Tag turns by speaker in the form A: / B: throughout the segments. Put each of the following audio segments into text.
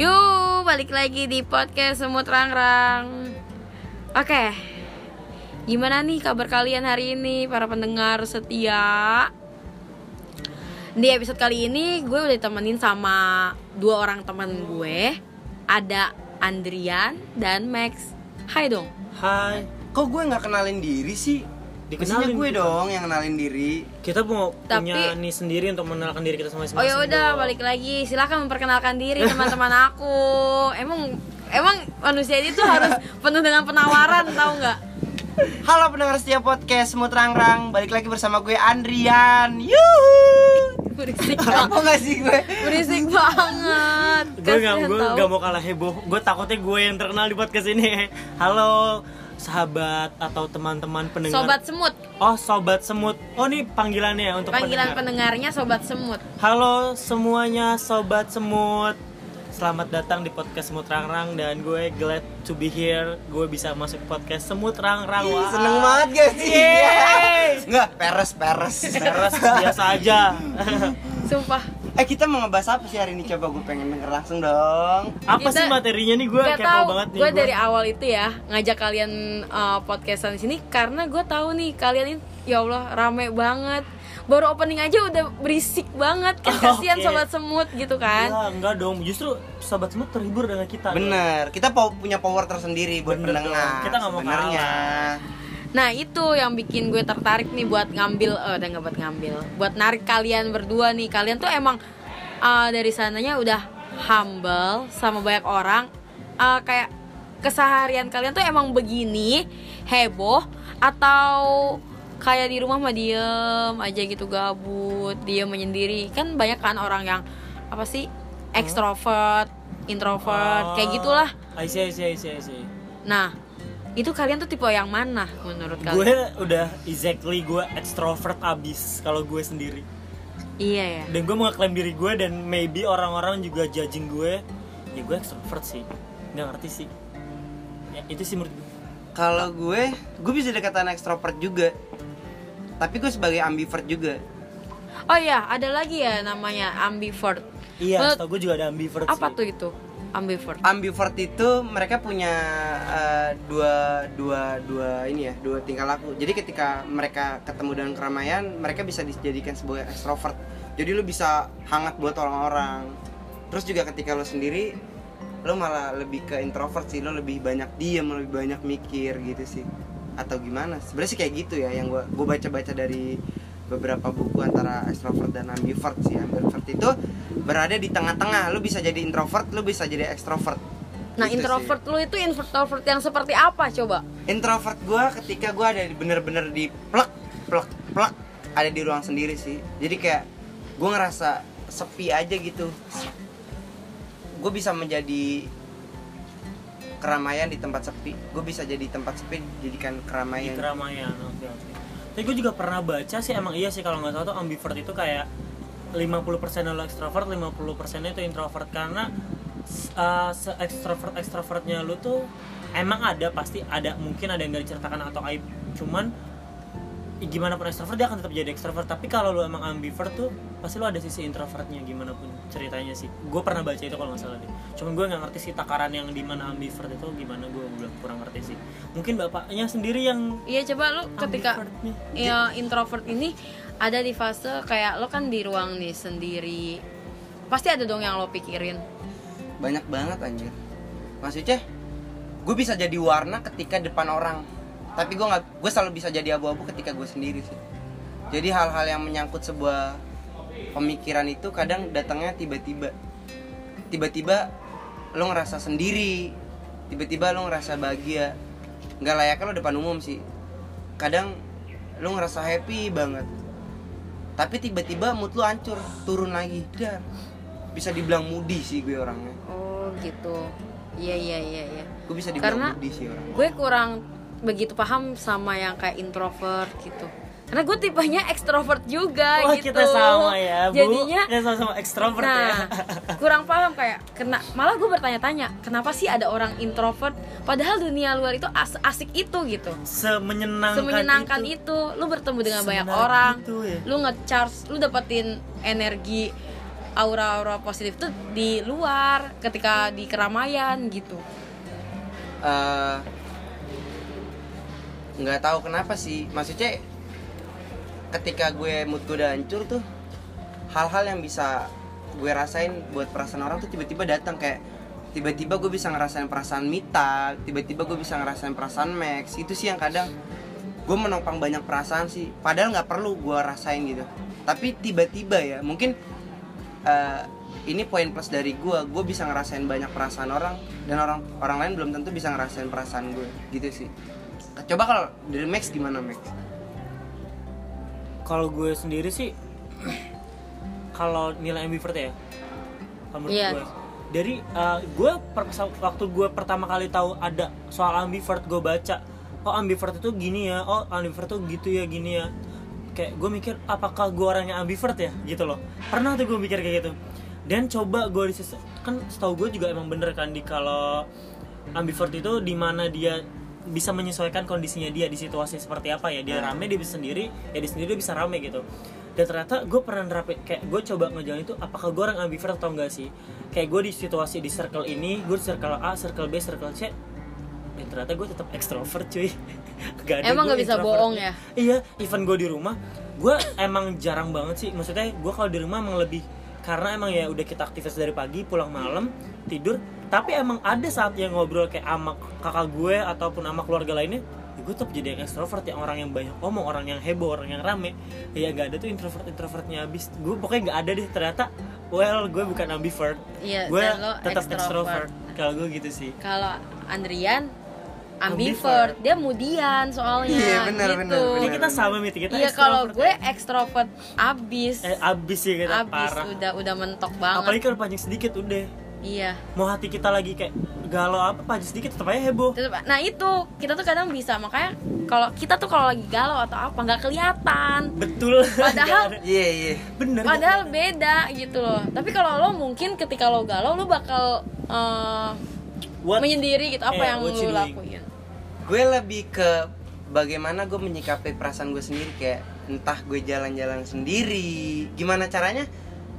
A: Yuk, balik lagi di podcast Semut Rangrang. Oke. Gimana nih kabar kalian hari ini para pendengar setia? Di episode kali ini gue udah ditemenin sama dua orang teman gue. Ada Andrian dan Max. Hai dong.
B: Hai,
C: Kok gue nggak kenalin diri sih? Mestinya
B: dikenalin.
C: gue dong yang kenalin diri.
B: Kita mau
A: Tapi-
B: punya nih sendiri untuk mengenalkan diri kita masing-masing.
A: Oh ya udah
B: dong.
A: balik lagi. Silakan memperkenalkan diri teman-teman aku. Emang emang manusia itu harus penuh dengan penawaran tahu nggak?
C: Halo pendengar setia podcast Semut Rangrang, balik lagi bersama gue Andrian. Yuhu.
A: Berisik banget.
C: Apa nggak sih gue?
A: Berisik banget.
B: Gue gak,
A: Kasihan
B: gue
A: tahu.
B: gak mau kalah heboh. Gue takutnya gue yang terkenal di podcast ini. Halo sahabat atau teman-teman pendengar.
A: Sobat semut.
B: Oh sobat semut. Oh ini panggilannya untuk
A: Panggilan
B: pendengar.
A: pendengarnya sobat semut.
B: Halo semuanya sobat semut. Selamat datang di podcast Semut Rangrang dan gue glad to be here. Gue bisa masuk podcast Semut Rangrang.
A: Iya,
B: Wah.
C: Seneng banget gak sih?
B: Yeay.
C: Nggak, peres peres.
B: Terus biasa aja.
A: Sumpah.
C: eh kita mau ngebahas apa sih hari ini? Coba gue pengen denger langsung dong.
B: Apa
A: Kita-
B: sih materinya nih gue
A: Gak
B: kepo
A: tahu.
B: banget nih.
A: Gue
B: gua.
A: dari awal itu ya ngajak kalian eh, podcastan di sini karena gue tahu nih kalian ini ya Allah rame banget. Baru opening aja udah berisik banget. Kan kasihan
B: Oke.
A: sobat semut gitu kan.
B: Ya, enggak dong, justru sobat semut terhibur dengan kita.
C: Bener, kita po- punya power tersendiri buat
B: Bener dong,
C: pendengar.
B: kita nggak mau
C: sebenarnya.
A: Nah itu yang bikin gue tertarik nih buat ngambil, eh udah nggak buat ngambil, buat narik kalian berdua nih. Kalian tuh emang eh, dari sananya udah humble sama banyak orang. Eh, kayak keseharian kalian tuh emang begini heboh atau kayak di rumah mah diem aja gitu gabut, diem menyendiri. Kan banyak kan orang yang apa sih ekstrovert, introvert,
B: Oh.
A: kayak gitulah.
B: I see, I see, I see, I see.
A: Nah itu kalian tuh tipe yang mana menurut kalian?
B: Gue udah exactly gue extrovert abis kalau gue sendiri.
A: Iya ya.
B: Dan gue mengeklaim diri gue dan maybe orang-orang juga judging gue. Ya gue extrovert sih. Nggak ngerti sih. Ya, itu sih menurut gue.
C: Kalau gue, gue bisa dikatakan ekstrovert juga. Tapi gue sebagai ambivert juga.
A: Oh iya, ada lagi ya namanya ambivert.
B: Iya,
A: Menurut-
B: setahu gue juga ada ambivert
A: Apa
B: sih. Ah,
A: tuh itu? Ambivert.
C: ambivert itu mereka punya eh, dua dua dua ini ya dua tingkah laku jadi ketika mereka ketemu dengan keramaian mereka bisa dijadikan sebagai ekstrovert jadi lu bisa hangat buat orang-orang terus juga ketika lu sendiri lu malah lebih ke introvert sih lu lebih banyak diam lebih banyak mikir gitu sih atau gimana sebenarnya sih kayak gitu ya yang gua gua baca-baca dari beberapa buku antara extrovert dan ambivert sih ambivert itu berada di tengah-tengah lu bisa jadi introvert lu bisa jadi ekstrovert
A: Nah,
C: Gitu sih.
A: introvert lu itu introvert yang seperti apa coba?
C: introvert gua ketika gua ada di- bener-bener di plek plek plek ada di ruang sendiri sih jadi kayak gua ngerasa sepi aja gitu gue bisa menjadi keramaian di tempat sepi gue bisa jadi tempat sepi jadikan
B: di
C: keramaian
B: Gitu. keramaian oke oke tapi gue juga pernah baca sih emang iya sih kalau nggak salah tuh ambivert itu kayak 50% lo extrovert 50% itu introvert karena uh, se extrovert extrovertnya lu tuh emang ada pasti ada mungkin ada yang gak diceritakan atau aib cuman gimana pun extrovert dia akan tetap jadi extrovert tapi kalau lu emang ambivert tuh pasti lu ada sisi introvertnya gimana pun ceritanya sih gue pernah baca itu kalau nggak salah deh cuman gue nggak ngerti sih takaran yang dimana ambivert itu gimana gue belum kurang ngerti sih mungkin bapaknya sendiri yang
A: Iya, coba lu ketika
B: Ambivert nih.
A: ya introvert ini ada di fase kayak lo kan di ruang nih sendiri. Pasti ada dong yang lo pikirin.
C: banyak banget anjir Mas Uceh gue bisa jadi warna ketika depan orang tapi gue nggak gue selalu bisa jadi abu-abu ketika gue sendiri sih jadi hal-hal yang menyangkut sebuah pemikiran itu kadang datangnya tiba-tiba tiba-tiba lo ngerasa sendiri tiba-tiba lo ngerasa bahagia nggak layaknya lo depan umum sih kadang lo ngerasa happy banget tapi tiba-tiba mood lo hancur turun lagi dan bisa dibilang moody sih gue orangnya
A: Oh, gitu. Iya, iya, iya, iya.
C: gue bisa dibilang
A: Karena-
C: moody sih orang
A: Gue kurang begitu paham sama yang kayak introvert gitu. Karena gue tipenya ekstrovert juga
B: Wah
A: gitu.
B: kita sama ya bu
A: Jadinya
B: Kita sama-sama ekstrovert ya
A: Nah, kurang paham kayak kena malah gue bertanya-tanya, kenapa sih ada orang introvert padahal dunia luar itu as- asik itu gitu.
B: Semenyenangkan,
A: Semenyenangkan itu. lu bertemu dengan banyak
C: gitu
B: Semenarik
A: orang,
B: itu ya.
A: lu nge-charge, lu dapetin energi aura-aura positif tuh di luar ketika di keramaian gitu
C: eh, nggak tahu kenapa sih maksudnya ketika gue mood gue udah hancur tuh hal-hal yang bisa gue rasain buat perasaan orang tuh tiba-tiba datang kayak tiba-tiba gue bisa ngerasain perasaan Mita tiba-tiba gue bisa ngerasain perasaan Max itu sih yang kadang gue menopang banyak perasaan sih padahal nggak perlu gue rasain gitu tapi tiba-tiba ya mungkin eh, ini poin plus dari gue gue bisa ngerasain banyak perasaan orang dan orang orang lain belum tentu bisa ngerasain perasaan gue gitu sih coba kalau dari Max gimana Max
B: kalau gue sendiri sih kalau nilai ambivert ya kalau menurut
A: Iya.
B: gue dari uh, gue per- waktu gue pertama kali tahu ada soal ambivert gue baca oh ambivert itu gini ya oh ambivert itu gitu ya gini ya kayak gue mikir apakah gue orangnya ambivert ya gitu loh pernah tuh gue mikir kayak gitu dan coba gue dises kan setahu gue juga emang bener kan di kalau ambivert itu di mana dia bisa menyesuaikan kondisinya dia di situasi seperti apa ya dia rame dia bisa sendiri ya dia sendiri dia bisa rame gitu dan ternyata gue pernah nerapin kayak gue coba ngejalanin itu apakah gue orang ambivert atau enggak sih kayak gue di situasi di circle ini gue di circle A circle B circle C dan ternyata gue tetap ekstrovert cuy Gak
A: Emang
B: gue
A: nggak bisa
B: introvert.
A: bohong ya?
B: iya even gue di rumah gue emang jarang banget sih maksudnya gue kalau di rumah emang lebih karena emang ya udah kita aktivitas dari pagi pulang malam tidur tapi emang ada saat yang ngobrol kayak sama kakak gue ataupun sama keluarga lainnya ya gue tetap jadi yang ekstrovert yang orang yang banyak ngomong orang yang heboh orang yang rame ya gak ada tuh introvert introvertnya habis gue pokoknya nggak ada deh ternyata well gue bukan ambivert
A: Iya,
B: gue
A: dan lo
B: tetap
A: extrovert.
B: ekstrovert kalau gue gitu sih
A: kalau Andrian ambivert
B: Ambivert.
A: dia mudian soalnya
C: Iya, benar,
A: gitu
C: benar,
B: Ini
C: benar.
B: Ya, kita sama mit kita
A: iya kalau
B: extrovert.
A: gue ekstrovert abis
B: eh, abis sih kita
A: abis
B: parah
A: udah udah mentok banget
B: apalagi kalau panjang sedikit udah
A: iya
B: mau hati kita lagi kayak galau apa panjang sedikit tetap aja heboh
A: Tetep- nah itu kita tuh kadang bisa makanya kalau kita tuh kalau lagi galau atau apa nggak kelihatan
B: betul
A: Padahal-
B: Gak ada.
C: iya iya
B: bener
A: padahal beda gitu loh tapi kalau lo mungkin ketika lo galau lo bakal eh,
B: What-
A: menyendiri gitu apa
B: eh,
A: yang
B: what
A: lo
B: you doing?
A: lakuin
C: gue lebih ke bagaimana gue menyikapi perasaan gue sendiri kayak entah gue jalan-jalan sendiri gimana caranya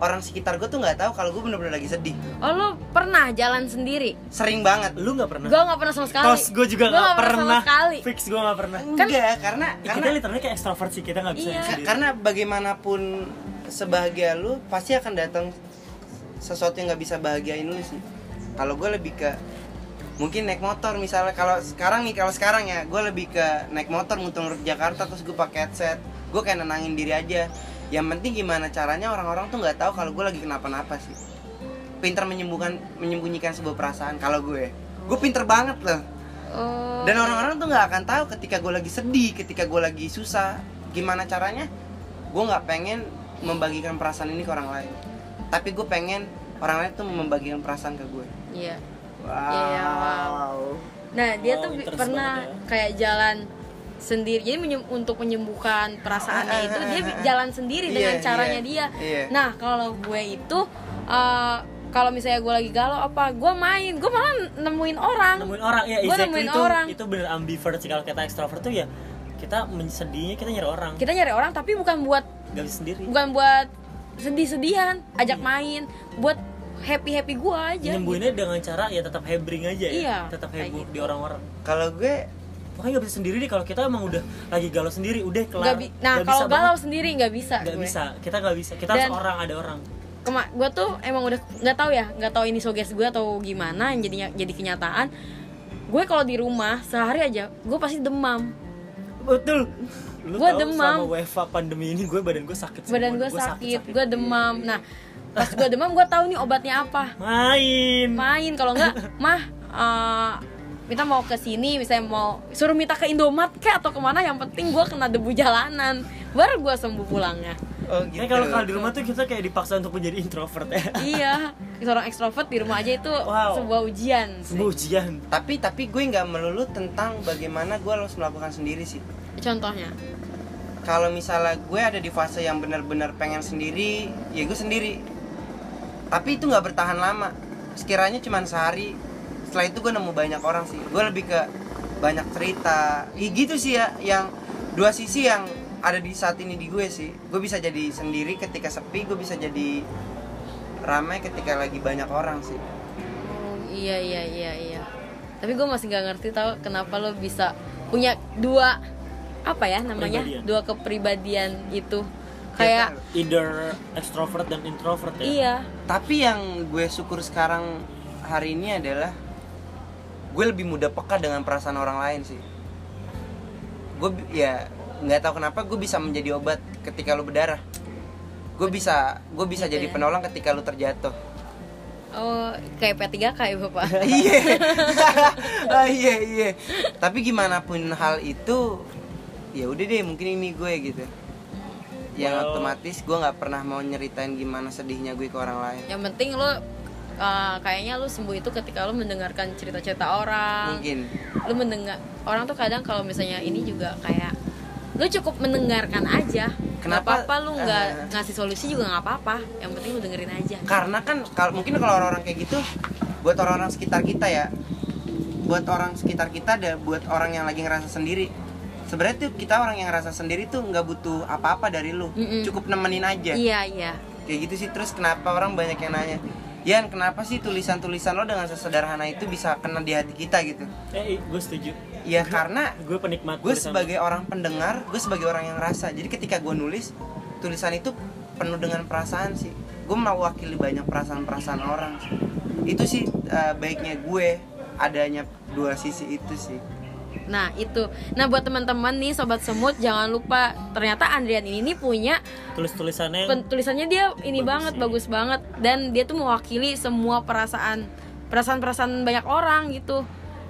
C: orang sekitar gue tuh nggak tahu kalau gue bener-bener lagi sedih
A: oh lo pernah jalan sendiri
C: sering banget
B: lu nggak pernah
A: gue nggak pernah sama sekali
B: tos gue juga
A: Gua
B: nggak
A: pernah sama
B: pernah
A: sekali
B: fix gue nggak pernah
C: enggak karena
B: Eh,
C: karena
B: kita literally kayak extrovert sih kita nggak bisa
A: Iya.
B: yang
C: Ka-
B: sendiri
C: karena bagaimanapun sebahagia lu pasti akan datang sesuatu yang nggak bisa bahagiain lu sih kalau gue lebih ke mungkin naik motor misalnya kalau sekarang nih kalau sekarang ya gue lebih ke naik motor muter Jakarta terus gue pakai headset gue kayak nenangin diri aja yang penting gimana caranya orang-orang tuh nggak tahu kalau gue lagi kenapa-napa sih pinter menyembuhkan menyembunyikan sebuah perasaan kalau gue gue pinter banget loh
A: Oh.
C: dan orang-orang tuh nggak akan tahu ketika gue lagi sedih ketika gue lagi susah gimana caranya gue nggak pengen membagikan perasaan ini ke orang lain tapi gue pengen orang lain tuh membagikan perasaan ke gue
A: iya
C: wow,
A: Iya, wow. Nah dia
B: Wow,
A: tuh bi-
B: interest
A: pernah
B: banget ya.
A: kayak jalan sendiri, jadi menyem- untuk menyembuhkan perasaannya
C: Ah, ah,
A: itu
C: ah,
A: dia
C: ah,
A: bi-
C: ah.
A: jalan sendiri dengan
C: Iya,
A: caranya
C: iya,
A: dia.
C: iya.
A: Nah kalau gue itu eh, kalau misalnya gue lagi galau apa, gue main, gue malah nemuin orang.
B: nemuin orang ya
A: Gua
B: exactly
A: nemuin
B: itu
A: orang.
B: itu bener ambivert sih kalau kita extrovert tuh ya kita sedihnya kita nyari orang
A: Kita nyari orang tapi bukan buat
B: nggak bisa sendiri
A: bukan buat sedih-sedihan, ajak
B: Iya.
A: main, buat happy happy gue aja.
B: nyembuhinnya dengan cara ya tetap hebring aja ya
A: Iya,
B: tetap
A: kayak
B: heboh di orang-orang
C: kalau gue
B: pokoknya nggak bisa sendiri deh kalau kita emang udah lagi galau sendiri udah kelar
A: Nggak bi- nah
B: Nggak
A: kalau
B: bisa
A: galau sendiri nggak bisa.
B: nggak
A: gue.
B: bisa kita nggak bisa kita
A: Dan-
B: harus orang ada orang
A: kema gue tuh emang udah nggak tahu ya nggak tahu ini soges gue atau gimana yang jadinya jadi kenyataan gue kalau di rumah sehari aja gue pasti demam
B: betul lu
A: Gua
B: tahu
A: demam.
B: sama WFA pandemi ini gue badan gue sakit semua.
A: badan gue sakit gue demam nah pas gue demam gue tahu nih obatnya apa
B: main
A: main kalau nggak mah eh, Mita mau ke sini misalnya mau suruh Mita ke Indomaret kayak atau kemana yang penting gue kena debu jalanan baru gue sembuh pulangnya
C: oh gitu
B: Kayak kalau kalau di rumah tuh kita kayak dipaksa untuk menjadi introvert ya
A: iya seorang ekstrovert di rumah aja itu
B: Wow.
A: sebuah ujian sih.
B: sebuah ujian
C: tapi tapi gue nggak melulu tentang bagaimana gue harus melakukan sendiri sih
A: contohnya
C: kalau misalnya gue ada di fase yang benar-benar pengen sendiri ya gue sendiri tapi itu nggak bertahan lama sekiranya cuma sehari setelah itu gue nemu banyak orang sih gue lebih ke banyak cerita ya gitu sih ya yang dua sisi yang ada di saat ini di gue sih gue bisa jadi sendiri ketika sepi gue bisa jadi ramai ketika lagi banyak orang sih
A: Oh, iya iya iya iya. Tapi gue masih nggak ngerti tau kenapa lo bisa punya dua apa ya namanya
B: Kepribadian.
A: dua kepribadian itu
C: Iya kan?
A: kayak
B: either extrovert dan introvert ya
A: iya
C: tapi yang gue syukur sekarang hari ini adalah gue lebih mudah peka dengan perasaan orang lain sih gue bi- ya nggak tahu kenapa gue bisa menjadi obat ketika lu berdarah gue bisa gue bisa
A: Gitu
C: jadi
A: ya.
C: penolong ketika lu terjatuh
A: oh kayak P3K ya bapak
C: iya Ah, iya iya tapi gimana pun hal itu ya udah deh mungkin ini gue gitu yang
B: Well-
C: otomatis gue nggak pernah mau nyeritain gimana sedihnya gue ke orang lain
A: yang penting lo uh, kayaknya lo sembuh itu ketika lo mendengarkan cerita-cerita orang
C: mungkin
A: lo mendengar orang tuh kadang kalau misalnya ini juga kayak lo cukup mendengarkan aja
C: Kenapa-
A: apa lo
C: Ah.
A: nggak ngasih solusi juga nggak apa-apa yang penting lo dengerin aja
C: karena kan kalau mungkin kalau orang-orang kayak gitu buat orang-orang sekitar kita ya buat orang sekitar kita ada buat orang yang lagi ngerasa sendiri sebenarnya tuh kita orang yang ngerasa sendiri tuh nggak butuh apa-apa dari lu
A: Mm-mm.
C: cukup nemenin aja
A: iya iya
C: kayak gitu sih terus kenapa orang banyak yang nanya Yan kenapa sih tulisan-tulisan lo dengan sesederhana itu bisa kena di hati kita gitu
B: eh gue setuju
A: Iya.
C: ya karena
B: gue penikmat
C: gue
B: tulisan.
C: sebagai orang pendengar gue sebagai orang yang ngerasa jadi ketika gue nulis tulisan itu penuh dengan perasaan sih gue mewakili banyak perasaan-perasaan orang sih. itu sih eh, baiknya gue adanya dua sisi itu sih
A: Nah itu, nah buat teman-teman nih sobat semut jangan lupa ternyata Andrian ini nih punya
B: tulis tulisannya
A: pen- tulisannya dia ini
B: Bagus
A: banget
B: sih.
A: bagus banget dan dia tuh mewakili semua perasaan perasaan perasaan banyak orang gitu.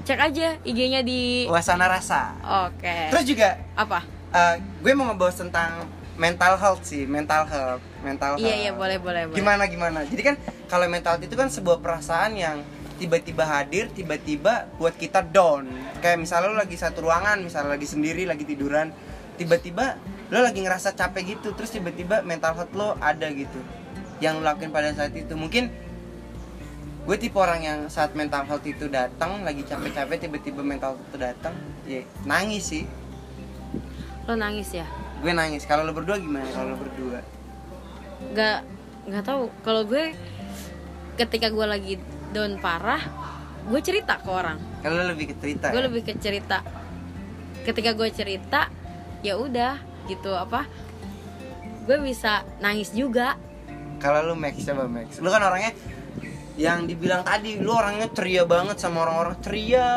A: Cek aja IG-nya di.
C: wasana rasa
A: Oke.
C: terus juga
A: Apa?
C: eh, gue mau ngebahas tentang mental health sih mental health mental health
A: Iya iya boleh boleh boleh.
C: gimana gimana jadi kan kalau mental health itu kan sebuah perasaan yang tiba-tiba hadir tiba-tiba buat kita down kayak misalnya lo lagi satu ruangan misalnya lagi sendiri lagi tiduran tiba-tiba lo lagi ngerasa capek gitu terus tiba-tiba mental health lo ada gitu yang lo lakuin pada saat itu mungkin gue tipe orang yang saat mental health itu datang lagi capek-capek tiba-tiba mental health itu datang ya nangis sih
A: Lo nangis ya?
C: gue nangis kalau lo berdua gimana kalau lo berdua
A: Gak nggak tahu. Kalau gue ketika gue lagi down parah, gue cerita ke orang.
C: kalau lo lebih ke cerita
A: gue
C: ya?
A: lebih ke cerita ketika gue cerita ya udah gitu apa gue bisa nangis juga
C: Kalau lu Max coba Max. Lu kan orangnya yang dibilang tadi lu orangnya ceria banget sama orang-orang ceria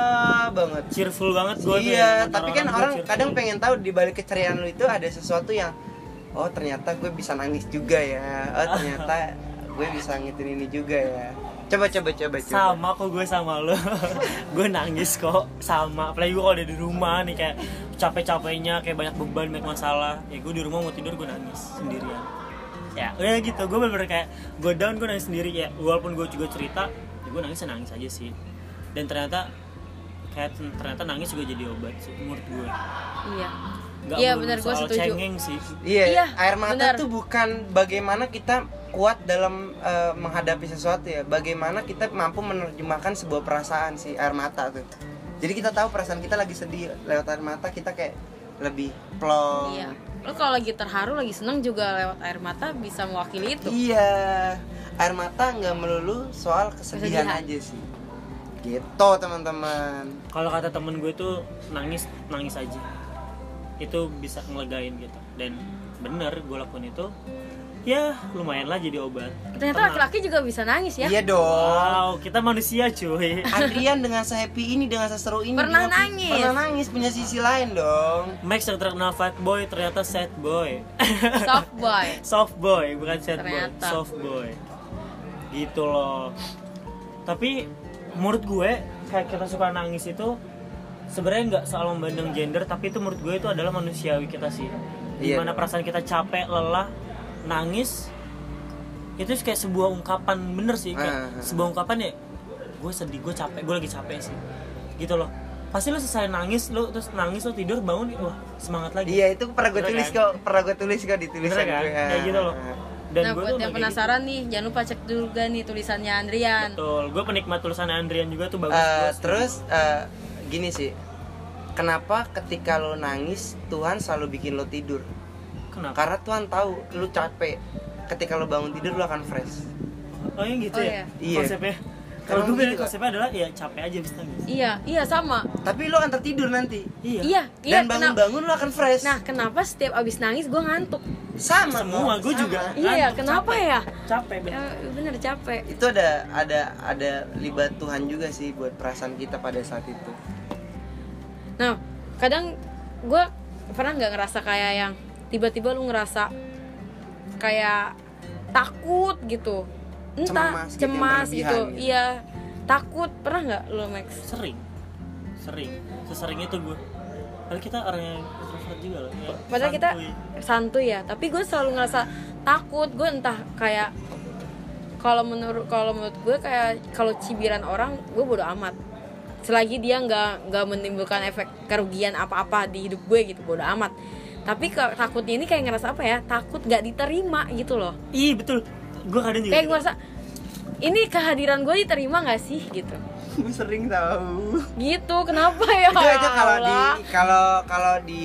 C: banget.
B: cheerful banget ya, gue
C: iya, tapi kan orang kadang pengen tahu di balik keceriaan lu itu ada sesuatu yang oh ternyata gue bisa nangis juga ya. Oh ternyata gue bisa ngitin ini juga ya. Coba coba coba coba.
B: sama kok gue sama lo gue nangis kok sama apalagi gue kalau ada di rumah nih kayak capek-capeknya kayak banyak beban banyak masalah ya gue di rumah mau tidur gue nangis sendirian ya ya gitu gue bener-bener kayak gue down gue nangis sendiri ya walaupun gue juga cerita ya gue nangis ya nangis aja sih dan ternyata kayak ternyata nangis juga jadi obat sih menurut gue
A: iya
B: Nggak
A: iya
B: melulu
A: benar gue
B: soal
A: setuju
B: cengeng sih
C: Iya,
A: Iya,
C: air mata
A: benar.
C: tuh bukan bagaimana kita kuat dalam eh, menghadapi sesuatu ya, bagaimana kita mampu menerjemahkan sebuah perasaan si air mata tuh. Jadi kita tahu perasaan kita lagi sedih lewat air mata kita kayak lebih plong.
A: iya lo kalau lagi terharu lagi seneng juga lewat air mata bisa mewakili itu
C: Iya, air mata nggak melulu soal kesedihan,
A: Kesedihan.
C: aja sih. Gitu teman-teman.
B: kalau kata temen gue tuh nangis nangis aja itu bisa ngelegain gitu dan bener gue lakuin itu ya lumayan lah jadi obat
A: ternyata laki-laki juga bisa nangis ya
C: Iya dong.
B: wow kita manusia cuy
C: Adrian dengan sehappy ini dengan seseru ini
A: Pernah
C: dengan-
A: nangis.
C: Pernah nangis punya sisi lain dong.
B: Max yang terkenal fat boy ternyata sad boy
A: soft boy
B: soft boy bukan sad boy
A: Ternyata.
B: soft boy gitu loh tapi menurut gue kayak kita suka nangis itu sebenarnya nggak soal membanding gender tapi itu menurut gue itu adalah manusiawi kita sih
C: Iya
B: dimana
C: dong.
B: perasaan kita capek lelah nangis itu kayak sebuah ungkapan bener sih
C: Ah,
B: kayak
C: ah, ah.
B: sebuah ungkapan ya gue sedih gue capek gue lagi capek sih gitu loh pasti lo selesai nangis lo terus nangis lo tidur bangun wah semangat lagi
C: Iya itu pernah gue
B: Bener
C: tulis
B: kan?
C: kok, pernah gue tulis kok di tulisan Eh,
B: Bener kan?
C: gue.
B: Kayak gitu
C: Ah,
B: loh. Dan
A: nah
B: gue
A: buat
B: tuh
A: yang
B: nggak kayak
A: penasaran nih jangan lupa cek juga nih tulisannya
B: gitu.
A: Andrian
B: Betul. Gue penikmat tulisan Andrian juga tuh bagus.
C: Eh,
B: bagus.
C: terus eh, gini sih, kenapa ketika lo nangis Tuhan selalu bikin lo tidur?
B: kenapa?
C: Karena Tuhan tahu lo capek. Ketika lo bangun tidur lo akan fresh.
B: Oh yang gitu
A: Oh,
B: ya?
C: iya.
B: Konsepnya. Kalau
C: Karena
B: gue
C: gitu,
B: bilang
C: Kak.
B: konsepnya adalah ya capek aja abis nangis.
A: Iya, iya sama.
C: Tapi lo antar tidur nanti.
B: Iya.
A: Iya, iya.
C: Dan
A: kenapa-
C: bangun-bangun lo akan fresh.
A: Nah, kenapa setiap abis nangis gue ngantuk?
C: sama
B: Semua,
C: kok,
B: gue
C: sama.
B: juga.
A: Iya,
B: Ngantuk,
A: kenapa
B: capek.
A: ya?
B: Capek
A: Ya,
B: bener.
A: bener capek.
C: Itu ada ada ada libat Tuhan juga sih buat perasaan kita pada saat itu.
A: Nah, kadang gue pernah nggak ngerasa kayak yang tiba-tiba lu ngerasa kayak takut gitu, entah
C: Cemas gitu, yang
A: cemas
C: berlebihan
A: gitu,
C: gitu.
A: iya takut pernah nggak lu Max?
B: Sering. Sering. Sesering itu gue. Padahal kita orang yang introvert juga loh. Ya,
A: Padahal kita
B: santuy.
A: santuy ya, tapi gue selalu ngerasa takut. Gue entah kayak kalau menurut kalau menurut gue kayak kalau cibiran orang gue bodo amat. Selagi dia nggak nggak menimbulkan efek kerugian apa-apa di hidup gue gitu bodo amat. Tapi ke, takutnya ini kayak ngerasa apa ya? Takut nggak diterima gitu loh.
B: Ih Iya, betul. Gue kadang
C: Iya.
B: juga.
A: Kayak gue
B: gitu.
A: ngerasa ini kehadiran gue diterima nggak sih gitu.
C: Gue sering tahu.
A: Gitu kenapa ya?
C: itu itu kalau di
A: Allah?
C: kalau kalau di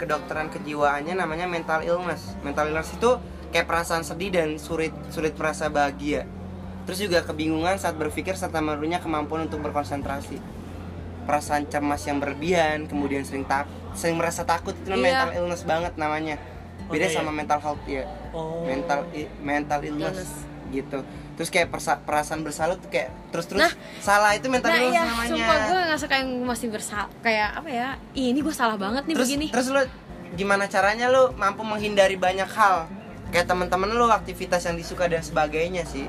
C: kedokteran kejiwaannya namanya mental illness mental illness itu kayak perasaan sedih dan sulit sulit merasa bahagia terus juga kebingungan saat berpikir serta menurunnya kemampuan untuk berkonsentrasi perasaan cemas yang berlebihan kemudian sering tak sering merasa takut itu namanya
A: Iya.
C: mental illness banget namanya beda
B: Oke,
C: sama mental health ya
B: Oh.
C: mental i- mental illness
A: Illness.
C: gitu terus kayak persa- perasaan bersalah tuh kayak terus terus
A: Nah.
C: salah itu mental
A: nah
C: illness
A: iya,
C: namanya
A: sumpah gue ngerasa kayak masih bersalah Kayak apa ya, Ih, ini gue salah banget nih
C: terus,
A: begini
C: Terus lu gimana caranya lu mampu menghindari banyak hal? Kayak teman-teman lu aktivitas yang disuka dan sebagainya sih.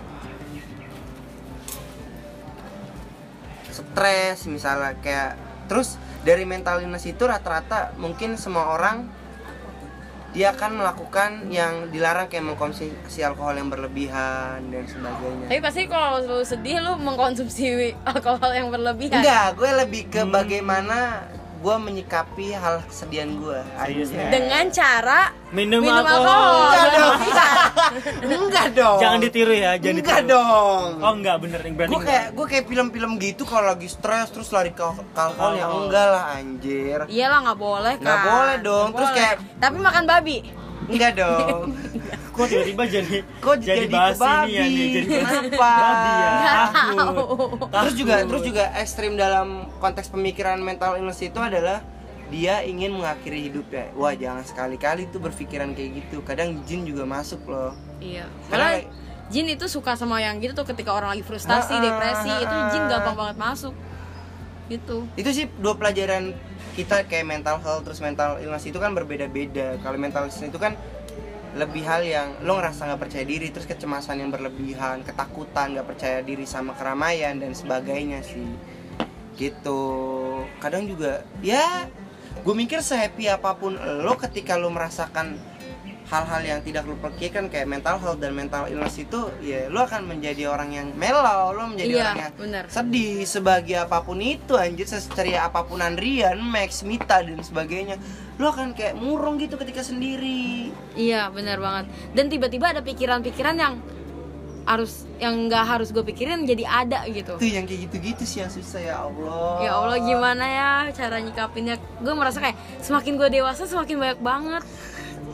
C: Stres misalnya kayak terus dari mental illness itu rata-rata mungkin semua orang dia akan melakukan yang dilarang kayak mengkonsumsi alkohol yang berlebihan dan sebagainya.
A: Tapi pasti kalau lu sedih lu mengkonsumsi alkohol yang berlebihan
C: Enggak, gue lebih ke bagaimana gue menyikapi hal kesedihan gue.
B: Serius ya? nih?
A: Dengan cara
B: Minum,
A: minum
B: alkohol.
A: alkohol Iya,
C: Enggak
A: Jangan
C: dong. enggak dong.
B: Jangan ditiru ya, jangan
C: enggak
B: ditiru.
C: dong.
B: Oh enggak bener yang berarti.
C: Gue kayak gue kayak film-film gitu kalau lagi stres terus lari ke ke alkohol ya
B: Alkohol.
C: enggak lah anjir.
A: Iya lah nggak boleh kan
C: Nggak boleh dong,
A: Nggak
C: terus
A: boleh.
C: kayak-
A: Tapi makan babi
C: Enggak dong.
B: Kok tiba-tiba jadi
C: Kok jadi, ke
B: bahas
C: babi?
B: ini ya, nih, jadi bahas
C: Kenapa?
B: babi ya.
A: Nggak
B: Takut.
A: tahu.
B: Takut.
C: Terus juga terus juga ekstrim dalam konteks pemikiran mental illness itu adalah dia ingin mengakhiri hidupnya. Wah, jangan sekali-kali tuh berpikiran kayak gitu. Kadang jin juga masuk loh.
A: Iya Karena
C: Karena-
A: Jin itu suka sama yang gitu tuh ketika orang lagi frustasi,
C: Ah, ah,
A: depresi
C: ah,
A: Itu
C: ah.
A: Jin gampang banget masuk Gitu
C: itu sih dua pelajaran kita kayak mental health terus mental illness itu kan berbeda-beda kalau mental illness itu kan lebih hal yang lo ngerasa nggak percaya diri terus kecemasan yang berlebihan ketakutan nggak percaya diri sama keramaian dan sebagainya sih gitu kadang juga ya gue mikir sehappy apapun lo ketika lo merasakan hal-hal yang tidak lo pikirkan kayak mental health dan mental illness itu ya lo akan menjadi orang yang mellow lo menjadi
A: Iya,
C: orang yang
A: bener.
C: sedih sebagai apapun itu anjir seceria apapun Andrian Max Mita dan sebagainya lo akan kayak murung gitu ketika sendiri
A: Iya benar banget. Dan tiba-tiba ada pikiran-pikiran yang harus yang nggak harus gue pikirin jadi ada gitu.
C: itu yang kayak gitu-gitu sih yang susah ya Allah
A: Ya Allah gimana ya cara nyikapinnya? Gue merasa kayak semakin gue dewasa semakin banyak banget